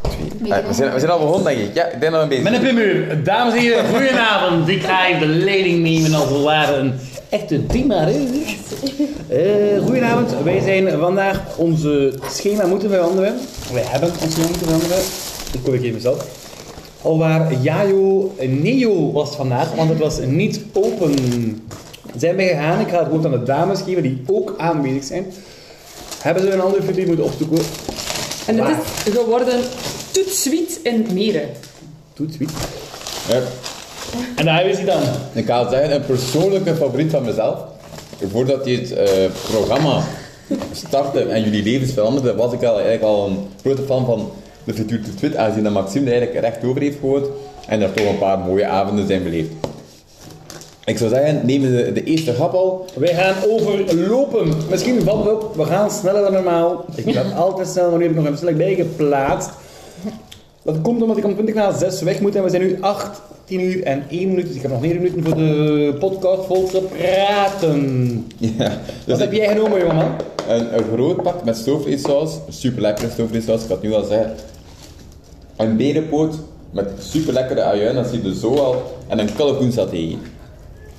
Eh, we, zijn, we zijn al begonnen, denk ik. Ja, ik ben al een beetje. Meneer Pimuur, dames en heren, goedenavond. Ik ga even de leiding nemen als we waren een echte dimareus. Eh goedenavond, wij zijn vandaag onze schema moeten veranderen. Wij hebben ons schema moeten veranderen. Dan kom ik even zelf. Alwaar Jajo Neo was vandaag, want het was niet open. Zijn wij gegaan, ik ga het woord aan de dames geven die ook aanwezig zijn. Hebben ze een andere functie moeten opzoeken? En het is geworden toetsuit in Meren. Doet wie? Eh, En daar is hij dan. ik ga het zeggen, een persoonlijke favoriet van mezelf. Voordat dit eh, programma startte en jullie levens veranderden, was ik al, eigenlijk al een grote fan van de Future Twit, aangezien dat Maxime er eigenlijk recht over heeft gehoord en daar toch een paar mooie avonden zijn beleefd. Ik zou zeggen, neem de, de eerste hap al. Wij gaan overlopen. Misschien valt het op, we gaan sneller dan normaal. Ik ben altijd snel, maar nu heb ik nog even slecht bijgeplaatst. Dat komt omdat ik om 20 na 6 weg moet en we zijn nu 8, 10 uur en 1 minuut. Dus ik heb nog 9 minuten voor de podcast vol te praten. Ja, Wat dus heb ik- jij genomen, jongeman? een, een groot pak met stoofvleessaus, super lekkere stoofvleessaus, ik had het nu al zeggen. Een berenpoot met super lekkere ajuin, dat zie je zo al. En een kalkoensaté.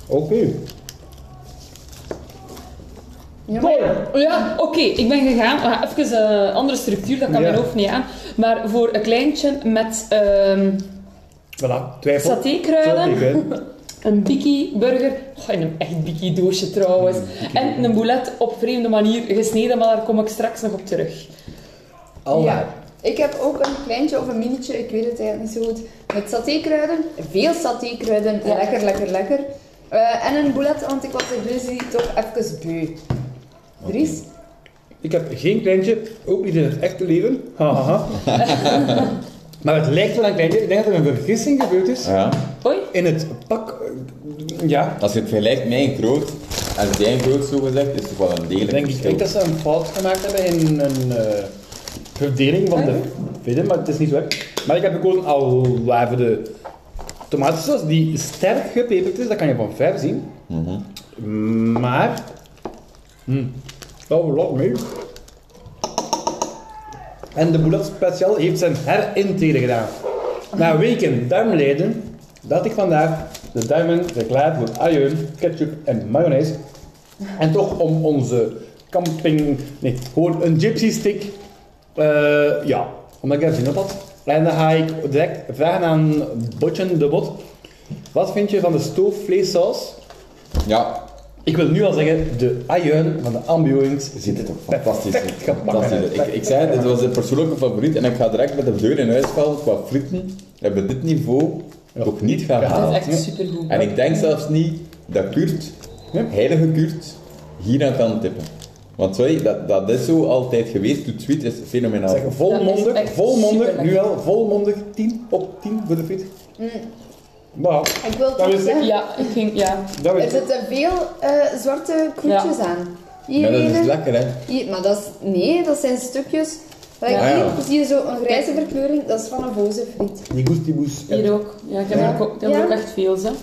Oké. Ja, maar- Oh ja oké, ik ben gegaan. We gaan even een andere structuur, dat kan Ja. mijn hoofd niet aan. Maar voor een kleintje met ehm Voilà, twijfel. satékruiden, Satékruiden. een biki burger, oh, in een echt biki doosje trouwens, en een boulet op vreemde manier gesneden, maar daar kom ik straks nog op terug. Alwaar. Ja. Ik heb ook een kleintje of een minietje, ik weet het eigenlijk niet zo goed. Met satékruiden, veel satékruiden, Ja. lekker, lekker, lekker. Eh, en een boulet, want ik was de busy toch even beu. Dries? Ik heb geen kleintje, ook niet in het echte leven. Hahaha. maar het lijkt wel een kleintje. Ik denk dat er een vergissing gebeurd is. Ja. Hoi? In het pak. eh, Ja. Als je het vergelijkt mijn groot en zijn groot zo gezegd, is het wel een degelijk Denk ik verschil. denk dat ze een fout gemaakt hebben in een eh, verdeling van de winnen, maar het is niet zo erg. Maar ik heb gekozen al voor de tomatensaus die sterk gepeperd is. Dat kan je van ver zien. Maar. Mm, wel wat mee. En de Boulat Special heeft zijn herintrede gedaan. Na weken darmleden dacht ik vandaag, de duimen zijn klaar voor ajuin, ketchup en mayonaise. En toch om onze camping, nee, gewoon een gypsy stick, eh, ja, omdat ik er zin op had. En dan ga ik direct vragen aan Botjen de Bot, wat vind je van de stoofvleessaus? Ja, Ik wil nu al zeggen, de ajuin van de ambulance ziet zit het er toch fantastisch. perfect gepakt Fantastisch. uit. Ik, ik zei, dit was een persoonlijke favoriet en ik ga direct met de deur in huis vallen qua frieten. Hebben we dit niveau Ja. ook niet gaan Ja. Dat is halen. echt supergoed. Ah, En ik denk zelfs niet dat Kurt, Ja. heilige Kurt, hier aan kan tippen. Want sorry, dat, dat is zo altijd geweest. Toet Sweet is fenomenaal. Zeg volmondig, Dat is echt volmondig, nu superlekker. Mm. al, volmondig, 10 op 10 voor de friet. Nou, Ik wil Dat toch is het. zeggen, Ja, ik ging, ja. dat er is het. zitten veel eh, zwarte kroetjes aan. Hier Ja, dat is dus ene, lekker, hè? hier, maar dat is, nee, dat zijn stukjes. Kijk, Ja. hier zie je zo een grijze verkleuring, dat is van een boze friet. Die goestibus. Hier ook. Ja, ik heb Ja. er ook, ik heb er Ja. ook echt veel, hè. Maar,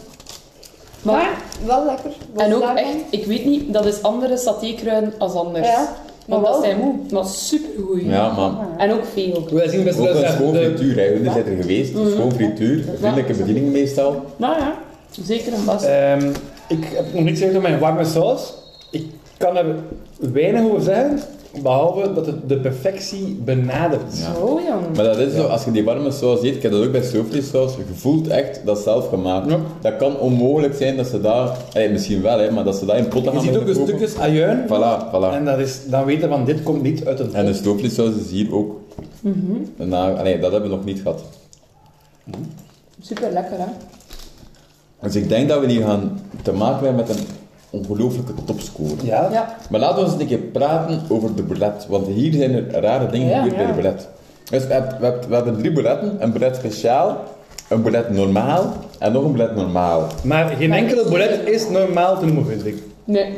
Maar wel lekker. Wat en is ook daarvan? echt, ik weet niet, dat is andere satékruiden als anders. Ja, maar Want dat wel zijn goed. maar supergoeie. Ja, man. En ook veel. Wij zien best Ook wel een schoon de, frituur, hè? Jullie zijn er geweest. Een schoon frituur, vriendelijke bediening meestal. Nou ja, zeker en vast. Ehm, ik heb nog niet gezegd over mijn warme saus. Ik kan er weinig over zeggen, behalve dat het de perfectie benadert. Ja. Zo Oh, jong. Maar dat is zo, als je die warme saus eet, ik heb dat ook bij stoofvleessaus, je voelt echt dat zelf gemaakt. Ja. Dat kan onmogelijk zijn dat ze daar, eh, misschien wel, hè, maar dat ze daar in potten Je gaan ziet ook de moeten koken. stukjes ajuin. Voilà, voilà. En dat is, dan weten we van dit komt niet uit een En de pot. stoofvleessaus is hier ook. Mhm. Daarna- allee, dat hebben we nog niet gehad. Super lekker, hè? Dus ik denk dat we hier gaan te maken hebben met een ongelooflijke topscore. Ja, Ja. Maar laten we eens een keer praten over de bullet. Want hier zijn er rare dingen Ja, gebeurd bij ja. de bullet. Dus we, hebben- we hebben- we hebben drie bulletten. Een bullet speciaal, een bullet normaal en nog een bullet normaal. Maar geen enkele bullet is normaal te noemen, vind ik. Nee.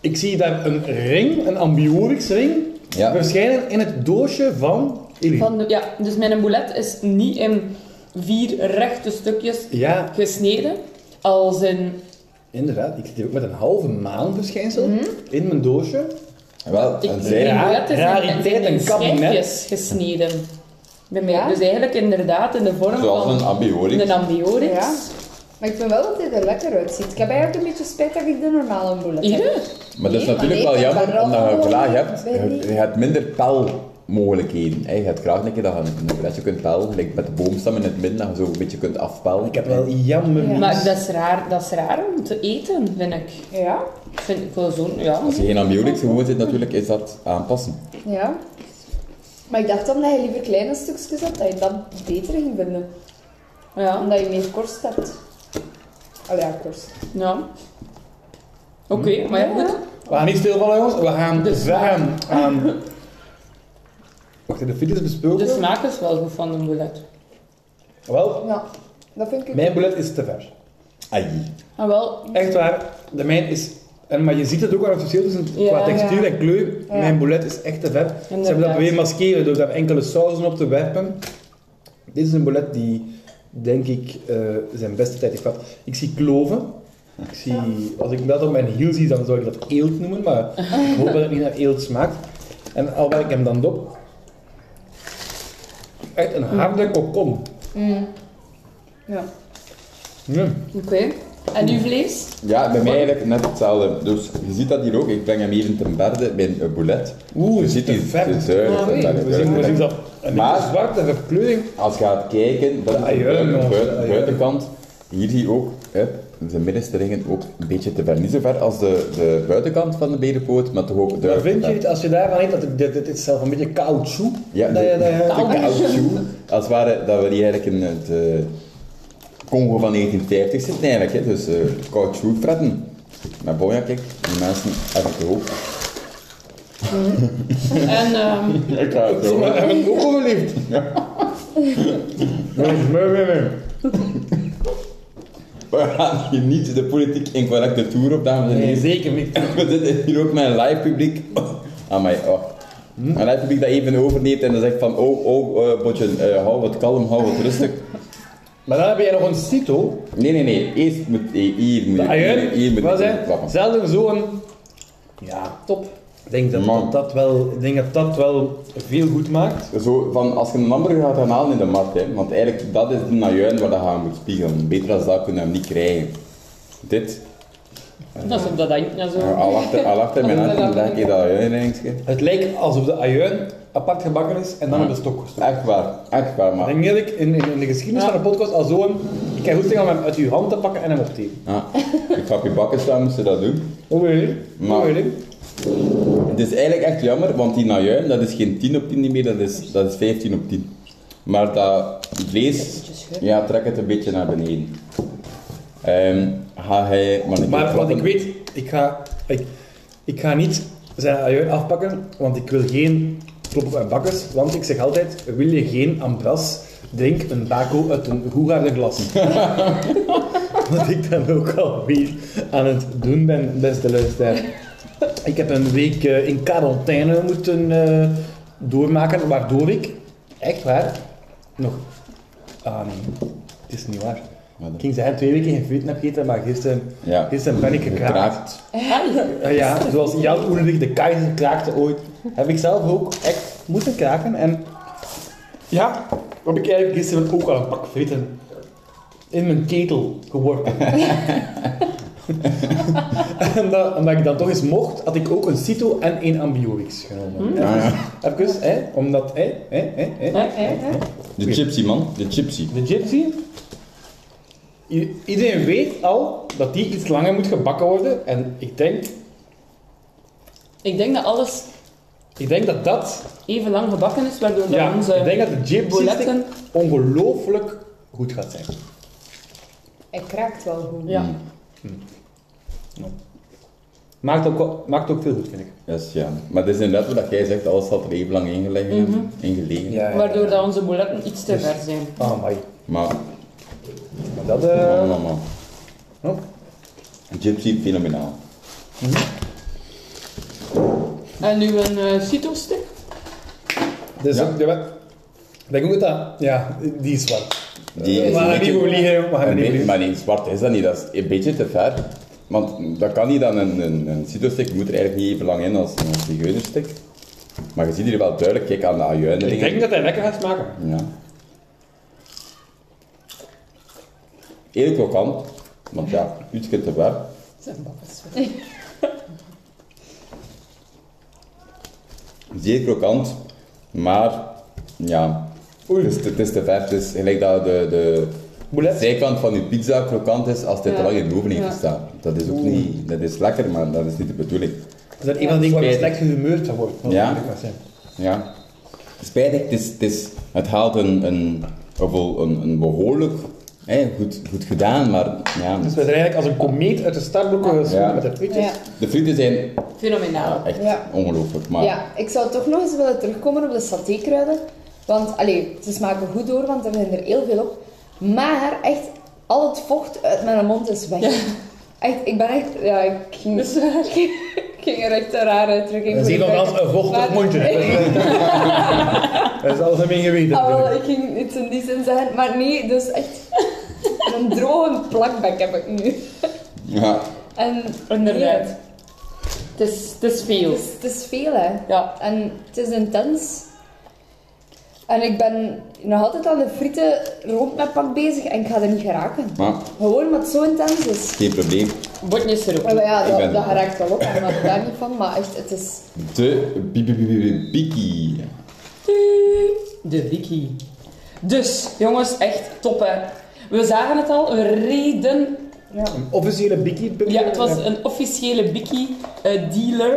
Ik zie daar een ring, een ambiorix ring, Ja. verschijnen in het doosje van Eline. Van de- ja, dus mijn boulet is niet in vier rechte stukjes Ja, gesneden. Als in... inderdaad. Ik zit hier ook met een halve maan verschijnsel in mijn doosje. Wel, Ik, en mijn zij, Ja, boulet is in- rariteit, in, in een kabinet. schijfjes gesneden. ermee. Ja. Dus eigenlijk inderdaad in de vorm Zoals een van ambiorix. een ambiorix. Ja. Maar ik vind wel dat hij er lekker uitziet. Ik heb eigenlijk een beetje spijt dat ik de normale bullet Hier? heb. Maar dat is Nee, natuurlijk maar wel nee, dat jammer, kan omdat je wel. een vlaag hebt, Weet niet. je, je hebt minder pelmogelijkheden. hè. Je hebt graag een keer dat je een een flesje kunt pellen, gelijk met de boomstam in het midden, dat je zo een beetje kunt afpellen. Ik heb wel jammer Ja. Maar dat is, raar, dat is raar om te eten, vind ik. Ja, Ik Vind ik wel zo'n... Ja. Als je geen ambiorix gewoon zit natuurlijk, is dat aanpassen. ja. Maar ik dacht omdat je liever kleine stukjes had, dat je dat beter ging vinden. Ja. Omdat je meer korst hebt. Allee, ja, korst. ja. Oké, Hmm. maar ja, goed. We gaan niet stilvallen, jongens. We gaan zeggen aan... Dus- Wacht, de files besproken. De smaak is wel goed van de boulet. Wel, Ja, dat vind ik... mijn bullet is te ver. Ai. Ah, wel. Echt waar, de mijn is... En, maar je ziet het ook wel, het verschil tussen Ja, qua textuur ja. en kleur. Ja. Mijn bullet is echt te ver. Ze hebben dat Inderdaad. weer maskeren door daar enkele sauzen op te werpen. Dit is een bullet die, denk ik, eh, zijn beste tijd heeft gehad. Ik zie kloven. Ik zie, Als ik dat op mijn hiel zie, dan zou ik dat eelt noemen. Maar ik hoop dat het niet naar eelt smaakt. En al werk ik hem dan op. Echt een harde kokon. Hmm. Ja. Ja. Oké. En uw vlees? Ja, bij mij eigenlijk net hetzelfde. Dus je ziet dat hier ook, ik breng hem even ten berde bij een boulet. Oeh, Je het is ziet te die ver. de zuilen, Ah, de oei. zuilen, We zien, we zien dat een Maar- beetje zwarte verkleuring. Als je gaat kijken, dat is de Ja, buiten- jongens, buiten- ja, buitenkant. Hier zie je ook, hè, de middenste ringen ook een beetje te ver. Niet zo ver als de, de buitenkant van de berenpoot, maar toch ook Maar duidelijk vind te je ver. het, als je daarvan eet, dat het, dit, dit is zelf een beetje caoutchouc? Ja, dat de- je, dat je- de caoutchouc. Als het ware dat we hier eigenlijk in het eh, Congo van 1950 zitten eigenlijk. Hè. Dus eh caoutchouc fretten. Met boja, kijk, die mensen hebben het ook. En ehm, Ik ga het Sommigen hebben het ook overleefd. We gaan hier niet de politiek incorrecte tour op, dames en heren. zeker niet. We zitten hier ook met een live publiek. Amai, oh. Hm? Een live publiek dat even overneemt en dan zegt van, oh, oh, eh Botje, eh, hou wat kalm, hou wat rustig. Maar dan heb je nog een cito. Ah, Nee, nee, nee, eerst moet, eh, hier moet je, hier, hier moet je Ayun, was even hè, klappen. zelden zo'n... Ja, top. Ik denk dat Man. dat, dat wel, ik denk dat dat wel veel goed maakt. Zo, van, als je een hamburger gaat gaan halen in de markt, hè, want eigenlijk, dat is de najuin waar dat je aan moet spiegelen. Beter als dat kunnen we hem niet krijgen. Dit, dat is op dat handje en zo. eh, al achter, al achter mijn hand, dan leg je dat ajuinringsje. Het lijkt alsof de ajuin apart gebakken is en dan op de stok gestoken. Echt waar, echt waar, Ik maar... denk dat ik in, in, in de geschiedenis Ja. van de podcast al zo'n... Ik kan goed zeggen om hem uit uw hand te pakken en hem op te eten. Ja. Ik ga op je bakken staan, moest je dat doen. Hoe wil je? Maar- Hoe wil je? Het is eigenlijk echt jammer, want die najuin, dat is geen 10 op 10 niet meer, dat is, dat is 15 op 10. Maar dat vlees, ja, trek het een beetje naar beneden. Ehm, ga hij... Maar, een keer Maar wat klappen. ik weet, ik ga, ik, ik ga niet zijn ajuin afpakken, want ik wil geen klop op mijn bakkers. Want ik zeg altijd, wil je geen ambras, drink een bako uit een goegaarde glas. wat ik dan ook alweer aan het doen ben, beste luisteraar. Ik heb een week eh, in quarantaine moeten eh, doormaken, waardoor ik, echt waar, nog... Ah nee, het is niet waar. Wat dan? Ik ging zeggen, twee weken geen frieten heb gegeten, maar gisteren... Ja, Gisteren ben ik gekraakt. gekraakt. Ai. Ja, Eh, ja, zoals Jan Oenerig de keizer kraakte ooit, heb ik zelf ook echt moeten kraken. En ja, heb ik eigenlijk gisteren ook al een pak frieten in mijn ketel geworpen. en dat, omdat ik dat toch eens mocht, had ik ook een cito en één ambiorix genomen. Ah, Ja, ja. Even, hè, omdat, hè, hè, hè, hè. Hè, hè, hè. De gypsy, man. De gypsy. De gypsy. I- Iedereen weet al dat die iets langer moet gebakken worden. En ik denk, Ik denk dat alles ik denk dat dat... even lang gebakken is, waardoor dat Ja, onze ik denk dat de gypsy stick bouletten... ongelooflijk goed gaat zijn. Hij kraakt wel goed. Ja. Mm, Maakt ook, wel- maakt ook veel goed, vind ik. Yes, ja. Maar het is inderdaad wat jij zegt, alles had er even lang in gelegen. in gelegen. Waardoor dat onze bouletten iets te ver zijn. Ah, maar Maar, dat... maar, eh maar, maar. oh. Gypsy, fenomenaal. En nu een eh cito-stick. Dus, Ja. ja. maar- ik denk ook dat... Ja, die is zwart. Die We is gaan een er niet beetje- over liegen, jongen, we gaan er Een niet over beetje- liegen. maar nee, zwart is dat niet, dat is een beetje te ver. Want dat kan niet dan een, een, een citrusstick moet er eigenlijk niet even lang in als een zigeunerstik. Maar je ziet hier wel duidelijk, kijk aan de ajuinen. Ik denk dat hij lekker gaat smaken. Ja. Eerlijk krokant, want ja, iets kunt er wel. Zijn bakkers. Zeer krokant, maar ja, het is, te- het is te ver. Het is gelijk dat de, de zijkant van je pizza krokant is als het te Ja. lang in de oven heeft Ja. gestaan. Dat is ook niet, dat is lekker, maar dat is niet de bedoeling. Is dat een van de dingen waar Spijtig. slecht gehumeurd van wordt? Ja. zijn. Ja. Spijtig, het, is, het, is, het haalt een, een, of wel een, een behoorlijk, hè, goed, goed gedaan, maar ja. Dus we zijn eigenlijk als een komeet uit de startblokken geschoten Ja. met de frietjes. Ja. De frieten zijn Fenomenaal. echt Ja. ongelooflijk, maar Ja, ik zou toch nog eens willen terugkomen op de satékruiden. Want, allee, ze smaken goed door, want er zijn er heel veel op. Maar echt, al het vocht uit mijn mond is weg. Echt, ik ben echt... Ja, ik ging, dus- ik ging er echt een rare uitdrukking Dat is voor iemand als gebruiken. een vochtig Maar- mondje. Dat is algemeen geweten. Oh, Ah, wel, ik ging iets in die zin zeggen, maar nee, dus echt... Een droge plakbek heb ik nu. ja. En, Inderdaad. nee, Het is, het is veel. het, is, het is veel, hè. Ja. En het is intens. En ik ben nog altijd aan de frieten rond mijn pak bezig en ik ga er niet geraken. Maar Gewoon omdat het zo intens is. geen probleem. Botjes erop. Maar ja, Ik dat, ben- dat raakt wel op, hè, maar daar niet van. Maar echt, het is... De bibibibibiki. De wiki. Dus, jongens, echt top hè. We zagen het al, we reden Ja. Een officiële bikkie. Ja, het was een officiële Biki eh, dealer.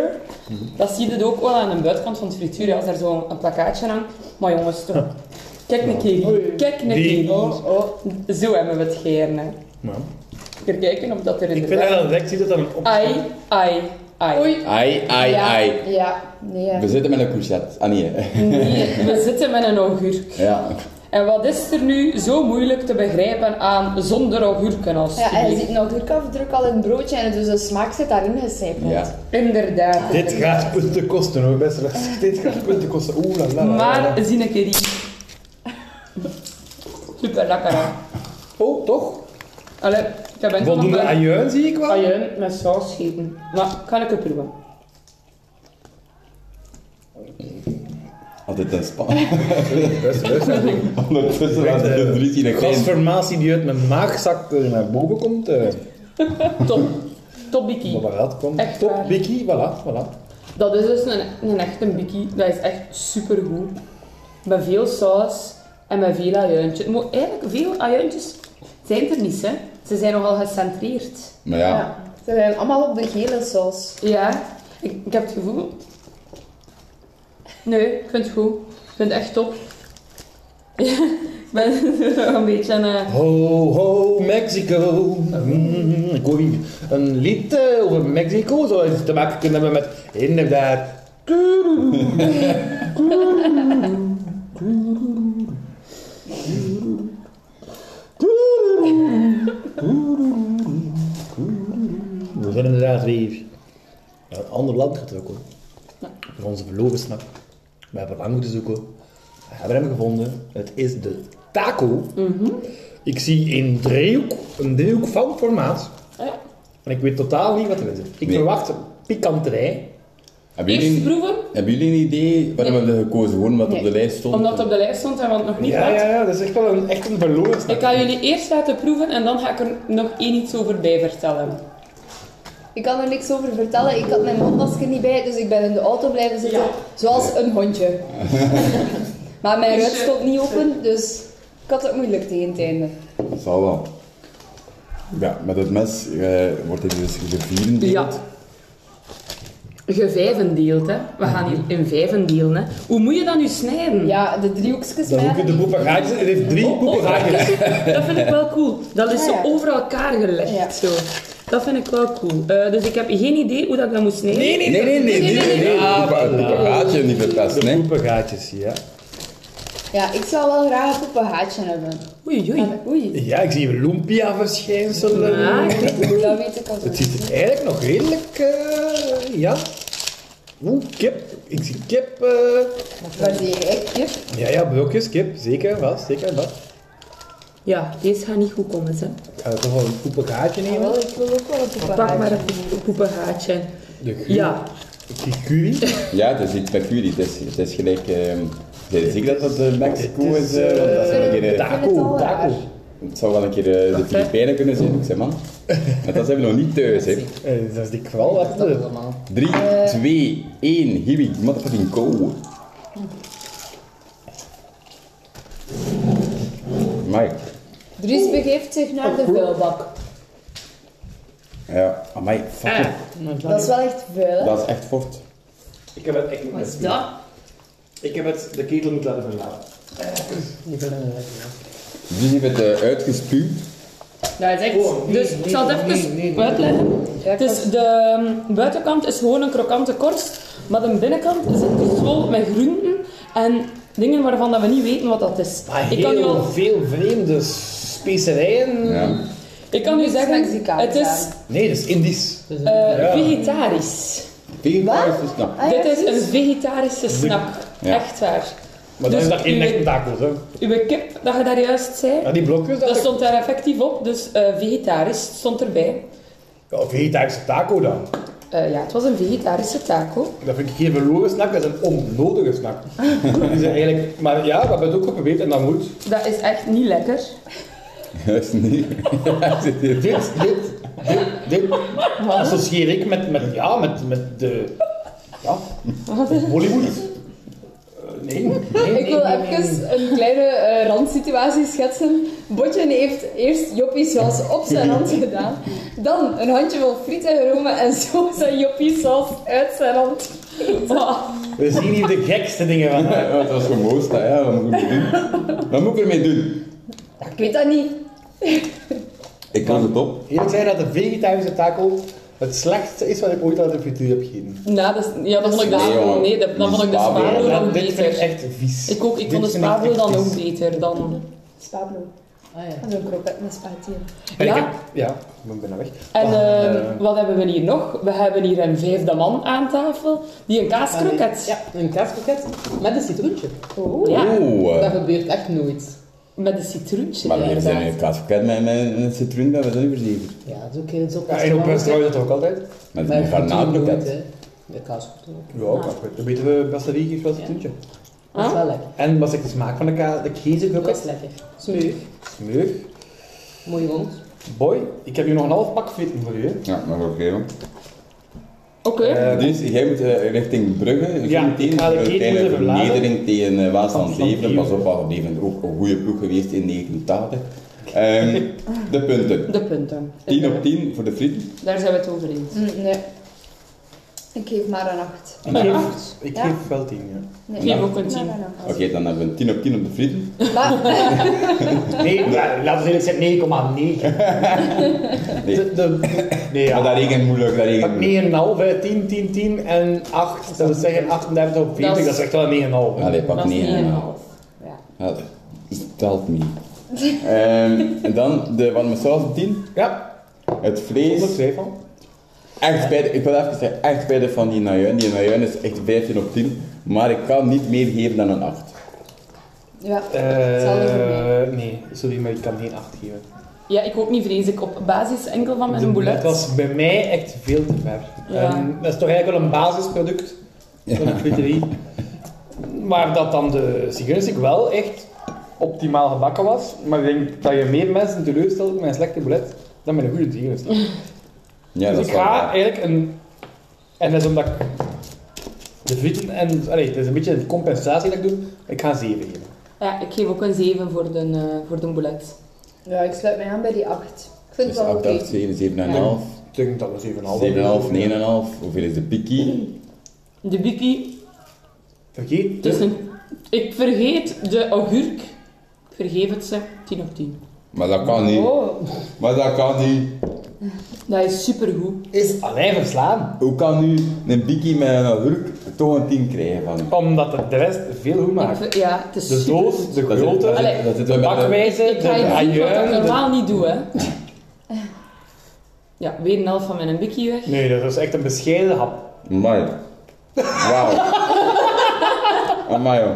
Dat zie je dus ook wel aan de buitenkant van het frituur, hè, als er zo'n een plakkaatje hangt. Maar jongens, toch. Kijk naar Kegi. Kijk naar Die- Kegi. Zo hebben we het geërne. Even kijken of dat er Ik vind dat inderdaad... dan direct ziet dat dan op. Ai, ai, ai. Oei. Ai, ai, ja, ai. Ja, nee. hè. We zitten met een courgette. Ah nee. Nee, we zitten met een augurk. Ja. En wat is er nu zo moeilijk te begrijpen aan zonder augurken als Ja, en je ziet nog drukafdruk al in het broodje en dus de smaak zit daarin gecijpeld. ja. Inderdaad. Dit gaat punten kosten hoor, best wel. Dit gaat punten kosten. Oeh la la la. Maar zie ik die. Super lekker. hè. Oh, toch? Allee, ik heb enkel nog Voldoende een ajuin zie ik wel. ajuin met saus geven. Maar kan ik het proeven? Altijd een span. Best, best dat ding. Ondertussen was het een drie in een klein. Gasformatie die uit mijn maag zakt eh, naar boven komt. eh Top. Top bikkie. wat eruit komt. Echt Top, waar. bikkie, voilà, voilà. Dat is dus een, een echte bikkie. Dat is echt super goed. Met veel saus en met veel ajuintjes. Maar eigenlijk, veel ajuintjes zijn er niet, hè. Ze zijn nogal gecentreerd. Maar ja, Ja. Ze zijn allemaal op de gele saus. Ja. Ik, ik heb het gevoel... Nee, ik vind het goed. Ik vind het echt top. ik ben een beetje... eh, Ho, ho, Mexico. Mm, ik hoor hier een lied eh, over Mexico. Zou het te maken kunnen hebben met inderdaad. We zijn inderdaad weer naar een ander land getrokken. Voor onze verlovensnacht. We hebben lang moeten zoeken. We hebben hem gevonden. Het is de taco. Ik zie een driehoek, een driehoek van formaat. ja. En ik weet totaal niet wat erin zit. Ik Nee. verwacht pikanterij. hebben Eerst jullie, proeven. hebben jullie een idee waarom Nee. hebben we gekozen? Gewoon omdat het op Nee. de lijst stond? Omdat het op de lijst stond en want het nog niet Ja, had. ja, ja, dat is echt wel een, echt een verloren Ik ga jullie eerst laten proeven en dan ga ik er nog één iets over bij vertellen. Ik kan er niks over vertellen. Ik had mijn mondmasker niet bij, dus ik ben in de auto blijven zitten. Ja. Zoals een hondje. maar mijn Dus, ruit eh, stond niet open, dus ik had het moeilijk tegen het einde. Zal wel. Ja, met het mes eh, wordt dit dus gevierd. Ja. Gevijvendeeld, hè. We gaan hier in vijven delen, hè. Hoe moet je dat nu snijden? Ja, de driehoekjes Dan hoek waren je de niet- poepagaatjes. Het heeft drie Oh, oh, poepagaatjes. kijk, dat vind ik wel cool. Dat is Ah, zo ja. over elkaar gelegd, Ja. zo. Dat vind ik wel cool. Eh, dus ik heb geen idee hoe dat ik dat moet snijden. Nee, nee, nee, nee, nee, nee. nee. Het propagaatje niet verpest, De nee. poepagaatjes, ja. Ja, ik zou wel graag een poepenhaatje hebben. Oei, oei. Maar- Oei, Ja, ik zie lumpia-verschijnselen. Ah, dat weet ik al. Het ziet er eigenlijk nog redelijk, eh, ja. Oeh, kip. Ik zie kip. eh. Waar zie ik? Hier. Ja, ja, brokjes kip. Zeker, vast, zeker, dat. Ja, deze gaat niet goed komen, zeg. Ik ga toch wel een poepagaatje nemen. Jawel, ik wil ook wel een Pak maar poepenhaatje. een poepenhaatje. De geur. Ja, Kikui. Ja, het is iets met curry. Het is, het is gelijk... ehm zijn jullie zeker dat dat eh, Mexico het is? is, eh, want dat zou Kunnen- een keer, eh, kunnen het al raar? het zou wel een keer eh, de Filipijnen kunnen zijn. Ik zeg man. Maar dat zijn we nog niet thuis, hè. Eh, Dat is die kwal wat. Dat is eh, allemaal. 3, 2, 1. Here we motherfucking go. Mike. Dries begeeft zich naar de vuilbak. Ja, amai. Fuck. Eh. Dat is wel echt vuil, hè? Dat is echt fort. Ik heb het echt niet Wat is met- dat? Ik heb het de ketel niet laten verlaten. Dus je bent eh, uitgespuwd. Ja, het is echt... Oh, nee, dus nee, ik zal het nee, even nee, nee. uitleggen. Ja, ik het is was- de mm, buitenkant is gewoon een krokante korst, maar de binnenkant is het dus vol met groenten en dingen waarvan dat we niet weten wat dat is. Maar Ik kan, u Ah, heel al, veel vreemde specerijen. Ja. ik kan u Niks zeggen, Mexicaans het is aan. Nee, dat is Indisch. eh, vegetarisch. Vegetarisch is knap. Ah, ja, Dit is precies. een vegetarische snack. Ja. Echt waar. Maar dat Dus is dat geen u- echte tacos, hè? Uw kip, dat je daar juist zei, Ja, die blokjes, dat dat is... stond daar effectief op, dus eh, vegetarisch stond erbij. Ja, vegetarische taco dan. Eh, ja, het was een vegetarische taco. Dat vind ik geen verloren snack, dat is een onnodige snack. die zijn eigenlijk... Maar ja, dat hebben we ook geprobeerd en dat moet. Dat is echt niet lekker. Dat is niet. Hij zit hier. Dit, dit, dit, dit associeer ik met, met, ja, met, met de... Ja, met Hollywood. Eh, nee, nee, nee, Ik wil nee, nee. even een kleine eh, randsituatie schetsen. Botjen heeft eerst Joppie saus op zijn hand gedaan. Dan een handjevol frieten geromen en zo zijn Joppie saus uit zijn hand. We zien hier de gekste dingen van. Ja, Het was gemoost, hè. ja. Wat moet ik ermee doen? Wat moet ik ermee doen? Ik weet dat niet. Ik kan het op. Eerlijk zeggen dat de vegetarische taco het slechtste is wat ik ooit uit de frituur heb gegeten. Nou, dat is, ja, dat vond ik de, Nee, jongen. nee, dat, dan Die vond ik de spa- spa Ja, dan dit beter. vind ik echt vies. Ik ook, ik Dit vond de vind ik spavel echt dan vies. ook beter dan... Spablo. Ah ja. Dat is een kroket met spaghetti. En ik Ja, heb- Ja, ik ben bijna weg. en Ah, ehm, eh, wat hebben we hier nog? We hebben hier een vijfde man aan tafel, die een kaaskroket. Ja, een kaaskroket met een citroentje. Oh, ja. Oeh. Dat eh, gebeurt echt nooit. met een citroentje. Maar ja, hier zijn inderdaad. we kaas gekend met met een citroen, dat we dat niet verzekerd. Ja, dat is ook eens op Ja, en op restaurant is dat ook altijd? Met Maar een garnalenpakket. De kaaskroket ook. Ja, ook altijd. Dan weten we best wel wie was het tientje. Dat is wel lekker. En was ik de smaak van de, ka- de Dat is kezenkroket? lekker. Smeuig. Smeug. Mooi rond. Boy, ik heb hier nog een half pak frieten voor u. hè. Ja, maar oké. hoor. Oké, Eh, Dus jij moet eh, richting Brugge. Ja, ik ga de ketel kleine even verladen. vernedering tegen uh, Waasland Van- van Leveren. Pas op, Leveren. Waasland Leveren ook een goede ploeg geweest in 1980. Ehm, de punten. de punten. 10 op 10 voor de frieten. Daar zijn we het over eens. Mm, nee. Ik geef maar een acht. Ik geef, acht? ik Ja. geef wel tien, ja. Nee. Geef ook een Maar tien. een Oké, acht. dan hebben we een 10 op 10 op de frieten. Maar Nee, maar laten we eerlijk zijn, 9,9. Nee. De- de- Nee, ja. Maar dat regent moeilijk, dat Ik heb regent moeilijk. 9,5, hè. 10, 10, 10 en 8. Dat wil zeggen 38 op 40, dat is echt wel een 9,5. hè. Allee, pak Dat is 9. Ja. 9,5. ja. Dat telt niet. Ehm, en dan de warme saus op 10. Ja, Het ik vlees. heb er twee van. Echt bij de, ik wil even zeggen, echt bij de van die Najuin. Die Najuin is echt 15 op 10, maar ik kan niet meer geven dan een 8. ja. Hetzelfde voor mij. Eh nee, sorry, maar ik kan geen 8 geven. Ja, ik ook niet vrees ik op basis enkel van De mijn Het boulet. was bij mij echt veel te ver. Ja. En dat is toch eigenlijk wel een basisproduct van de friterie. maar dat dan de zigeunerstik wel echt optimaal gebakken was. Maar ik denk dat je meer mensen teleurstelt met een slechte boulet dan met een goede zigeunerstik. Ja, dat dus is ik wel ga waar. eigenlijk een... En dat is omdat ik de frieten en... Allee, het is een beetje een compensatie dat ik doe. Ik ga een 7 geven. Ja, ik geef ook een 7 voor de, eh, voor de boulet. ja, ik sluit mij aan bij die acht. Ik vind Dus het wel 8, oké. 8, 7, 7,5. Ik denk dat we 7,5 7,5, 9,5. Hoeveel is de pikkie? De bikkie Vergeet Het dus is een... Ik vergeet de augurk. Ik vergeef het ze. 10 op 10. Maar dat kan niet. Oh, Maar dat kan niet. Dat is supergoed. is alleen verslaan. Hoe kan nu een pikkie met een agurk toch een 10 krijgen van u? Omdat het de rest veel goed Ik maakt. ver- Ja, het is De super doos, de Dat zit- dat grootte, zit- dat zit wel de bij de- bakwijze, Ik de ga je doen wat ik ajuin. de- normaal niet doe, hè. Ja, weer een helft van mijn bikkie weg. Nee, dat is echt een bescheiden hap. Amai. Wauw. Amai, joh.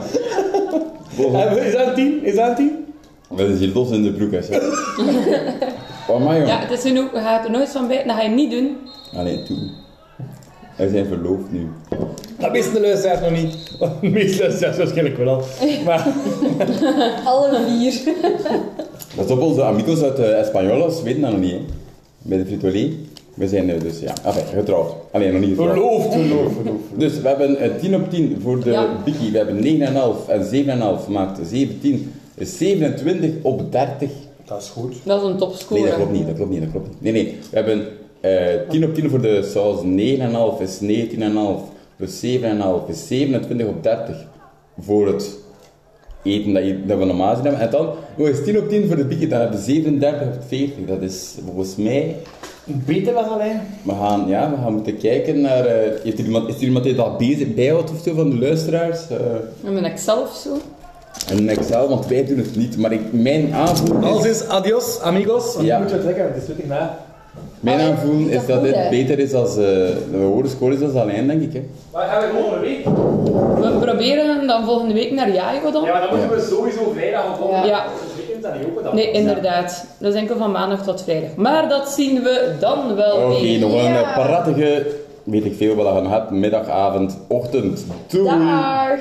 Boven- Eh, Is dat een 10? Is dat een 10? Dat is hier los in de broek, hè. zeg. Amai, joh. Ja, het is genoeg. Je gaat er nooit van bij. Dat ga je niet doen. Allee, toe. Eh, En we zijn verloofd nu. Dat wisten de luisteraars nog niet. De meeste luisteraars waarschijnlijk wel al. Maar Alle vier. Dat op onze amigos uit eh Espanolos weten dat nog niet, hè. Bij de Fritolee. We zijn eh, dus, ja, enfin, getrouwd. Alleen nog niet getrouwd. verloofd, verloofd, verloofd. Dus we hebben eh, 10 op 10 voor de Ja. Biggie. We hebben 9,5 en 7,5 maakt 17. Is 27 op 30. Dat is goed. Dat is een Nee, topscore. dat klopt niet, dat klopt niet, dat klopt niet. Nee, nee, we hebben eh 10 op 10 voor de saus. 9,5 is 19,5 plus 7,5 is 27 op 30 voor het eten dat, je- dat we normaal zien hebben. En dan oh, is 10 op 10 voor de Biggie, dan hebben we 37 op 40. Dat is volgens mij... Beter wel alleen. We gaan, ja, we gaan moeten kijken naar... eh, heeft er iemand, is er iemand die dat bezig bijhoudt of zo van de luisteraars? Eh, En ben ik zelf zo. Een Excel, want wij doen het niet. Maar ik, mijn aanvoer Alles is, is adios, amigos. Ja. Moet je het lekker, het is 20 na. mijn Allee, aanvoer is is dat dat goed, dit hè? beter is als eh de woordenscore is als alleen, denk ik. Hè. Maar gaan we volgende week? Ja, We proberen dan volgende week naar Jaigo dan. maar dan moeten we sowieso vrijdag of volgende Ja. Het weekend is dat niet open dan. Nee, inderdaad. Dat is enkel van maandag tot vrijdag. Maar dat zien we dan wel Oké, weer. Oh, nog een Ja. prachtige, weet ik veel wat je gaat, middag, avond, ochtend. Doei! Dag.